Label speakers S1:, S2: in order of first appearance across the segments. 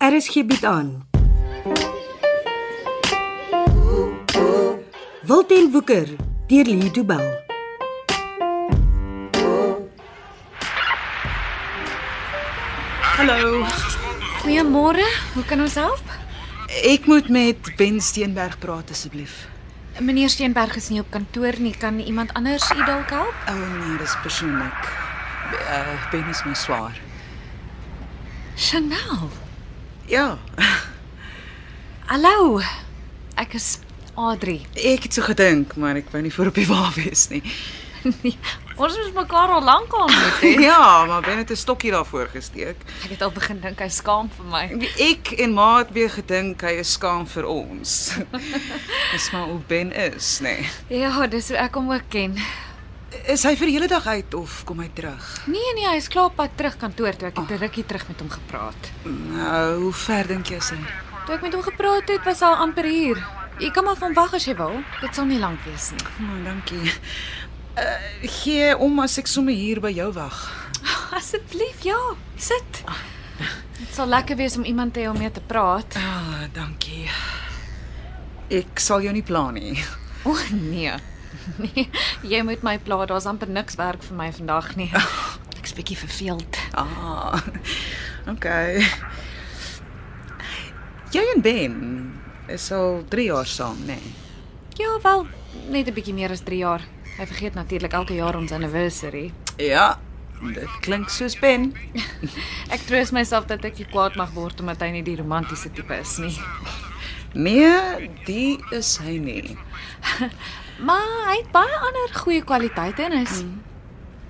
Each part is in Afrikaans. S1: RSG bied Er aan. Wilten Woeker deur Lee Du Bell.
S2: Hallo.
S3: Goeiemôre. Hoe kan ons help?
S2: Ek moet met Ben Steenberg praat asseblief.
S3: Meneer Steenberg is nie op kantoor nie. Kan iemand anders u dalk help?
S2: O oh, nee, dis persoonlik. Uh, ben is my swaar.
S3: Chanel.
S2: Ja,
S3: Hallo. Ek is Adri.
S2: ek het so gedink, maar ek wou nie voor op die wa wees nie.
S3: ons het mekaar al lank al ontmoet. hè?
S2: Ja, maar Ben het 'n stokkie daarvoor gesteek.
S3: Ek het al begin dink hy skaam vir my.
S2: Ek en Ma het weer gedink hy is skaam vir ons. Dis maar hoe Ben is, nê. Nee.
S3: Ja, dis hoe ek hom ook ken.
S2: Is hy vir die hele dag uit of kom hy terug?
S3: Nee nee, hy is klaar op pad terug kantoor toe ek het 'n rukkie terug met hom gepraat.
S2: Nou, hoe ver dink jy is hy?
S3: Toe ek met hom gepraat het, was hy al amper hier. Jy kan maar van wag as jy wil. Dit sal nie lank wees nie.
S2: Oh, dankie. Uh, gee om as ek sommer hier by jou wag.
S3: Asseblief, ja. Sit. Dit sal lekker wees om iemand te hê om mee te praat.
S2: Ah, dankie. Ek sal jou nie pla nie.
S3: O oh, nee. Nee, jy moet my pla, daar's amper niks werk vir my vandag nie. Ek's bietjie verveeld.
S2: Ah. Okay. Jy en Ben is al 3 jaar saam, né? Nee?
S3: Ja, wel, net 'n bietjie meer as 3 jaar. Hy vergeet natuurlik elke jaar ons anniversary.
S2: Ja. Dit klink soos Ben.
S3: Ek troos myself dat ek nie kwaad mag word omdat hy nie die romantiese tipe is nie.
S2: Nee, die is hy nie.
S3: Maar hy het baie ander goeie kwaliteite en hy's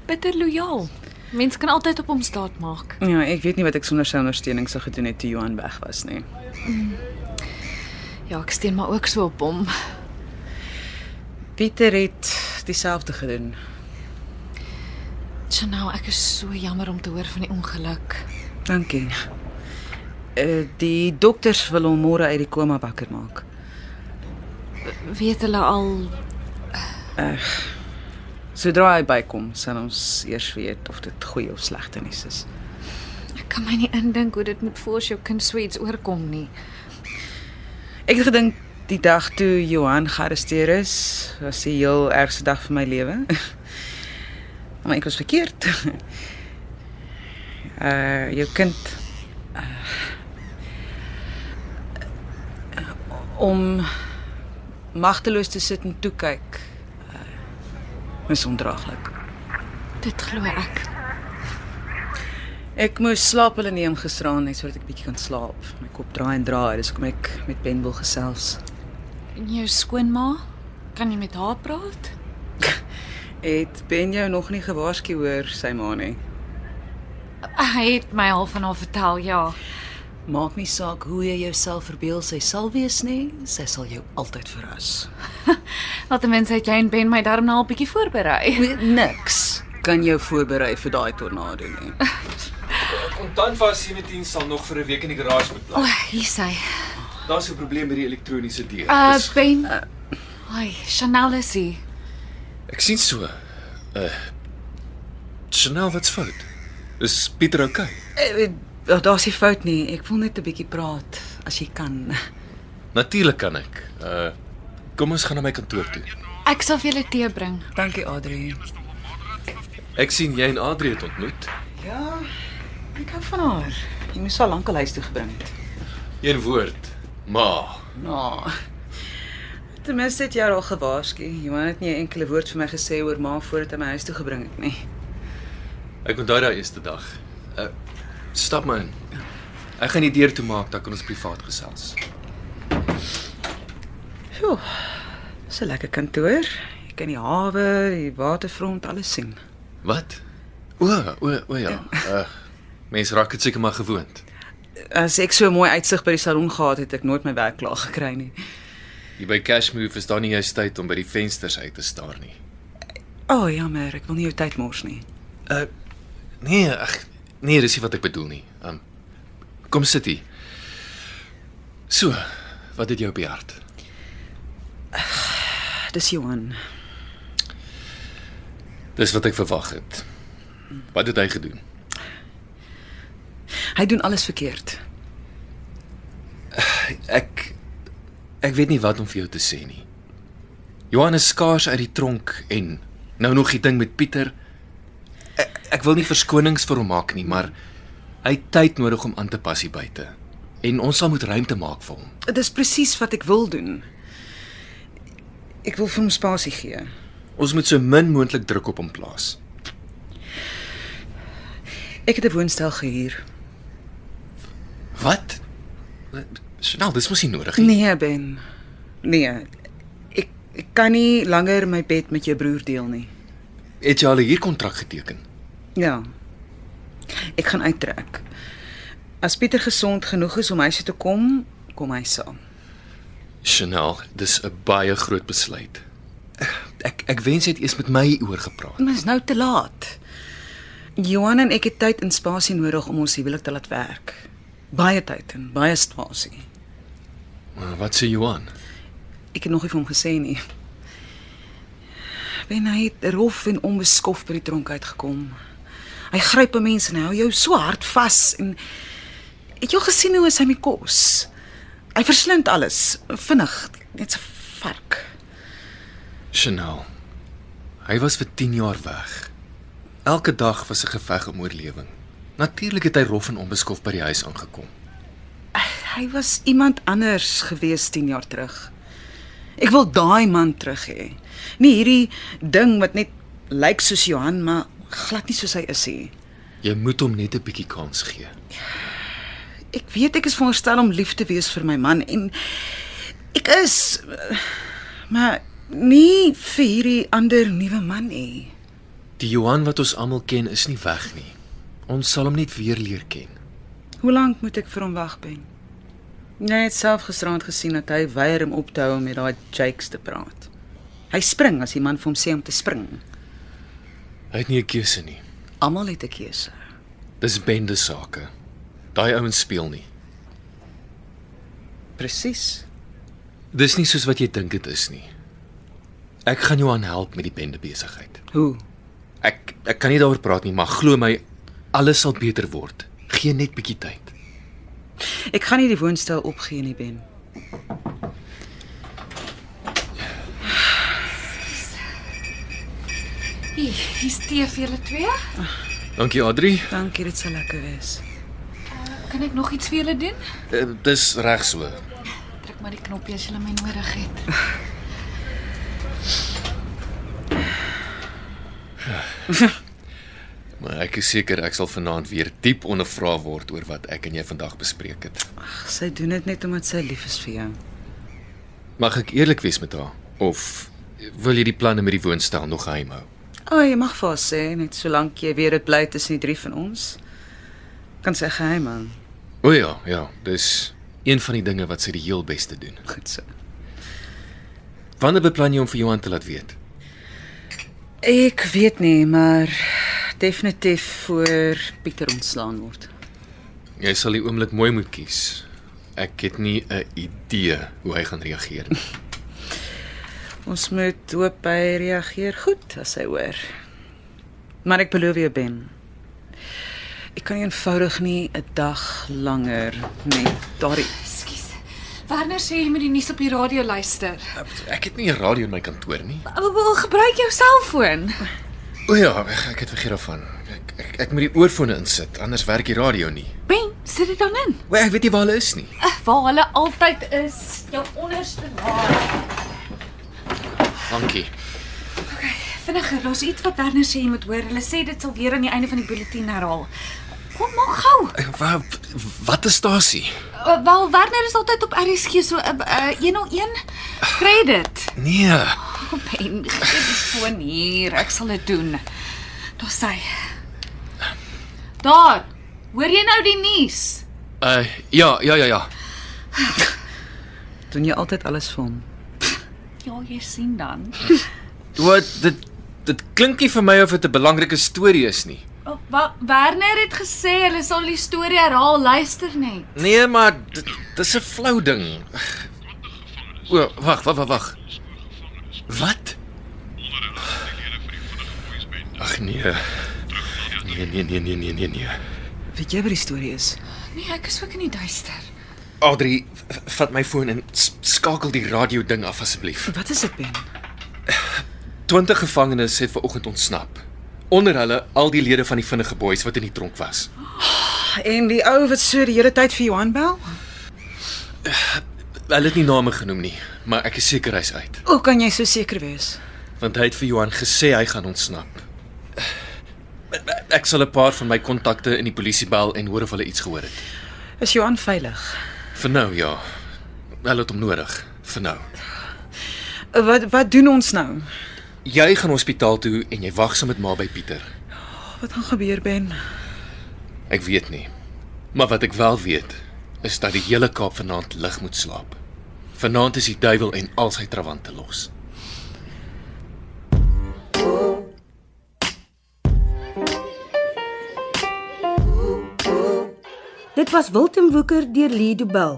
S3: bitter lojaal. Mense kan altyd op hom staat maak.
S2: Ja, ek weet nie wat ek sonder sy ondersteuning sou gedoen het toe Johan weg was nie.
S3: Ja, ek steen maar ook so op hom.
S2: Pieter het dieselfde gedoen.
S3: Chanel, ek is so jammer om te hoor van die ongeluk.
S2: Dankie. Uh, die dokters wil hom môre uit die koma wakker maak.
S3: Weet hulle al
S2: Sodra hy bykom, sal ons eers weet of dit goeie of slegte nuus is.
S3: Ek kan my nie indink hoe dit moet voor jou kind so iets oorkom nie.
S2: Ek het gedink die dag toe Johan gearresteer is, was die heel ergste dag van my lewe. maar ek was verkeerd. uh jou kind uh, om magteloos te sit en toe kyk uh, is ondraaglik.
S3: Dit glo ek.
S2: Ek moes slaap hulle neem gisteraan net sodat ek bietjie kan slaap. My kop draai en draai, dis hoekom ek met Ben wil gesels.
S3: En jou skoonma, kan jy met haar praat?
S2: Het Ben jou nog nie gewaarsku hoor sy ma nie.
S3: Hy het my al van haar vertel, ja.
S2: Maak nie saak hoe jy jouself verbeel sy sal wees nie, sy sal jou altyd verras.
S3: Laat mense het jy en Ben my darm nou al bietjie voorberei.
S2: Niks kan jou voorberei vir daai tornado nie.
S4: Kontant vas 17 sal nog vir 'n week in die garage moet
S3: O,
S4: bly.
S3: oh, hier sy.
S4: Daar's 'n probleem met die elektroniese deur.
S3: Uh
S4: Dis-
S3: Ben. Ai, Chanel is hier.
S4: ek sien so. Uh Chanel, wat's fout? Is Pieter okay?
S2: Eh, eh, Daar's nie fout nie. Ek wil net 'n bietjie praat as jy kan.
S4: Natuurlik kan ek. Uh kom ons gaan na my kantoor toe.
S3: Ek sal vir julle tee bring.
S2: Dankie Adri.
S4: Ek sien jy en Adrie het ontmoet.
S2: Ja. Ek hou van haar. Jy moes al lank al huis toe gebring het.
S4: Een woord. Ma.
S2: Nou. Ten minste het jy haar al gewaarsku. Johan het nie 'n enkele woord vir my gesê oor ma voordat hy my huis toe gebring het nie.
S4: Ek onthou daai eerste dag. Uh stap maar in. Ek gaan die deur toemaak, dan kan ons privaat gesels.
S2: Sjoe. Dis 'n lekker kantoor. Jy kan die hawe, die waterfront, alles sien.
S4: Wat? O, o, o ja. Uh mense raak dit seker maar gewoond.
S2: As ek so 'n mooi uitsig by die salon gehad het, het ek nooit my werk klaar gekry nie.
S4: Hier by Cashmove is daar nie juist tyd om by die vensters uit te staar nie.
S2: O, oh, jammer, ek wil nie jou tyd mors nie.
S4: Uh nee, ag nee, dis nie wat ek bedoel nie. Um kom sit hier. So, wat het jou op die hart?
S2: Dis Johan.
S4: Dis wat ek verwag het. Wat het hy gedoen?
S2: Hy doen alles verkeerd.
S4: Ek weet nie wat om vir jou te sê nie. Johan is skaars uit die tronk en nou nog die ding met Pieter. Ek, ek wil nie verskonings vir hom maak nie, maar hy het tyd nodig om aan te pas hier buite. En ons sal moet ruimte maak vir hom.
S2: Dis presies wat ek wil doen. Ek wil vir hom spasie gee.
S4: Ons moet so min moontlik druk op hom plaas.
S2: Ek het 'n woonstel gehuur.
S4: Wat? Snel, dis mos nie nodig nie.
S2: Nee, Ben. Nee. Ek ek kan nie langer my bed met jou broer deel nie.
S4: Het jy al 'n huurkontrak geteken?
S2: Ja. Ek gaan uittrek. As Pieter gesond genoeg is om huis toe te kom, kom hy saam.
S4: Chanel, dis 'n baie groot besluit. Ek ek wens jy het eers met my oor gepraat.
S2: Maar is nou te laat. Johan en ek het tyd en spasie nodig om ons huwelik te laat werk. Baie tyd en baie spasie.
S4: Maar wat sê Johan?
S2: Ek het nog nie vir hom gesê nie. Ben hy het rof en onbeskof by die tronk uitgekom. Hy gryp 'n mens en hy hou jou so hard vas en het jy al gesien hoe is hy met kos? Hy verslind alles vinnig, net so vark.
S4: Chanel. Hy was vir 10 jaar weg. Elke dag was 'n geveg om oorlewing. Natuurlik het hy rof en onbeskof by die huis aangekom.
S2: Hy was iemand anders gewees 10 jaar terug. Ek wil daai man terug hê. Nie hierdie ding wat net lyk soos Johan, maar glad nie soos hy is nie.
S4: Jy moet hom net 'n bietjie kans gee.
S2: Ek weet ek is veronderstel om lief te wees vir my man en ek is maar nie vir hierdie ander nuwe man nie.
S4: Die Johan wat ons almal ken is nie weg nie. Ons sal hom net weer leer ken.
S2: Hoe lank moet ek vir hom wag ben? Jy het self gisterand gesien dat hy weier om op te hou om met daai Jakes te praat. Hy spring as die man vir hom sê om te spring.
S4: Hy het nie 'n keuse nie.
S2: Almal het 'n keuse.
S4: Dis bende sake. Daai ouens speel nie.
S2: Presies.
S4: Dis nie soos wat jy dink dit is nie. Ek gaan jou help met die bende besigheid.
S2: Hoe?
S4: Ek ek kan nie daaroor praat nie, maar glo my, alles sal beter word. Gee net bietjie tyd.
S2: Ek gaan nie die woonstel opgee nie, Ben.
S3: Hier, hier's tee vir julle twee.
S4: Dankie Adri.
S2: Dankie, dit sal lekker wees.
S3: Kan ek nog iets vir julle doen?
S4: Eh, Dis reg so.
S3: Druk maar die knoppie as julle my nodig het.
S4: Maar ek is seker ek sal vanaand weer diep ondervra word oor wat ek en jy vandag bespreek het.
S2: Ag, sy doen dit net omdat sy lief is vir jou.
S4: Mag ek eerlik wees met haar of wil jy die planne met die woonstel nog geheim hou?
S2: O, jy mag vir haar sê net solank jy weet dit bly tussen die drie van ons. Kan sy geheim hou.
S4: O ja, ja, dis een van die dinge wat sy die heel beste doen.
S2: Goed so.
S4: Wanneer beplan jy om vir Johan te laat weet?
S2: Ek weet nie, maar definitief voor Pieter ontslaan word.
S4: Jy sal die oomblik mooi moet kies. Ek het nie 'n idee hoe hy gaan reageer nie.
S2: Ons moet hoop hy reageer goed as hy hoor. Maar ek beloof jou Ben. Ek kan eenvoudig nie 'n dag langer met daardie
S3: Ekskuus. Werner sê jy moet die nuus op die radio luister.
S4: Ek het nie 'n radio in my kantoor nie.
S3: Wil gebruik jou selfoon.
S4: O ja, ek ek het vergeet daarvan. Ek ek, ek moet die oorfone insit, anders werk die radio nie.
S3: Ben, sit dit dan in.
S4: Wel, ek weet nie waar hulle is nie.
S3: Uh, waar hulle altyd is, jou onderste laag.
S4: Dankie.
S3: Vinniger, daar's iets wat Werner sê jy moet hoor. Hulle sê dit sal weer aan die einde van die bulletin herhaal. Kom maak gou.
S4: Wat Eh, wat is stasie?
S3: Uh, wel Werner is altyd op RSG so uh, uh, 101. Kry dit.
S4: Nee.
S3: Kom Oh, Ben, gee die foon hier. Ek sal dit doen. Daar sê. Daar. Hoor jy nou die nuus?
S4: Uh ja, ja, ja, ja.
S2: doen jy altyd alles vir hom.
S3: Ja, jy sien dan.
S4: Wat dit dit klink nie vir my of dit 'n belangrike storie is nie.
S3: Oh, wa- Werner het gesê hulle sal die storie herhaal, luister net.
S4: Nee, maar dit dis 'n flou ding. O, wag, wag, wag, wag. Wat? Ag nee. Nee, nee, nee, nee, nee, nee, nee.
S2: Weet jy wat die storie is?
S3: Nee, ek is ook in die duister.
S4: Adri, v- vat my foon en s- skakel die radio ding af asseblief.
S2: Wat is dit, Ben?
S4: 20 gevangenes het vanoggend ontsnap. Onder hulle al die lede van die vinnige boeis wat in die tronk was.
S2: En die ou wat so die hele tyd vir Johan bel?
S4: Hulle het nie name genoem nie, maar ek is seker hy's uit,
S2: Hoe kan jy so seker wees?
S4: want hy het vir Johan gesê hy gaan ontsnap. Ek sal 'n paar van my kontakte in die polisie bel en hoor of hulle iets gehoor het.
S2: Is Johan veilig?
S4: Vir nou ja. Hulle het hom nodig vir nou.
S2: Wat wat doen ons nou?
S4: Jy gaan hospitaal toe en jy wag saam met ma by Pieter.
S2: Wat gaan gebeur, Ben?
S4: Ek weet nie. Maar wat ek wel weet, is dat die hele Kaap vanaand lig moet slaap. Vanaand is die duiwel en al sy trawante los.
S1: Dit was Wilten Woeker deur Lee Du Bell.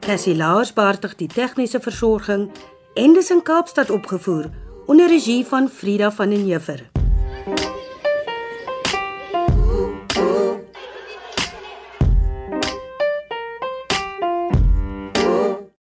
S1: Cassie Lars beheerdig die tegniese versorging en dis in Kaapstad opgevoer onder regie van Frida van den Heever.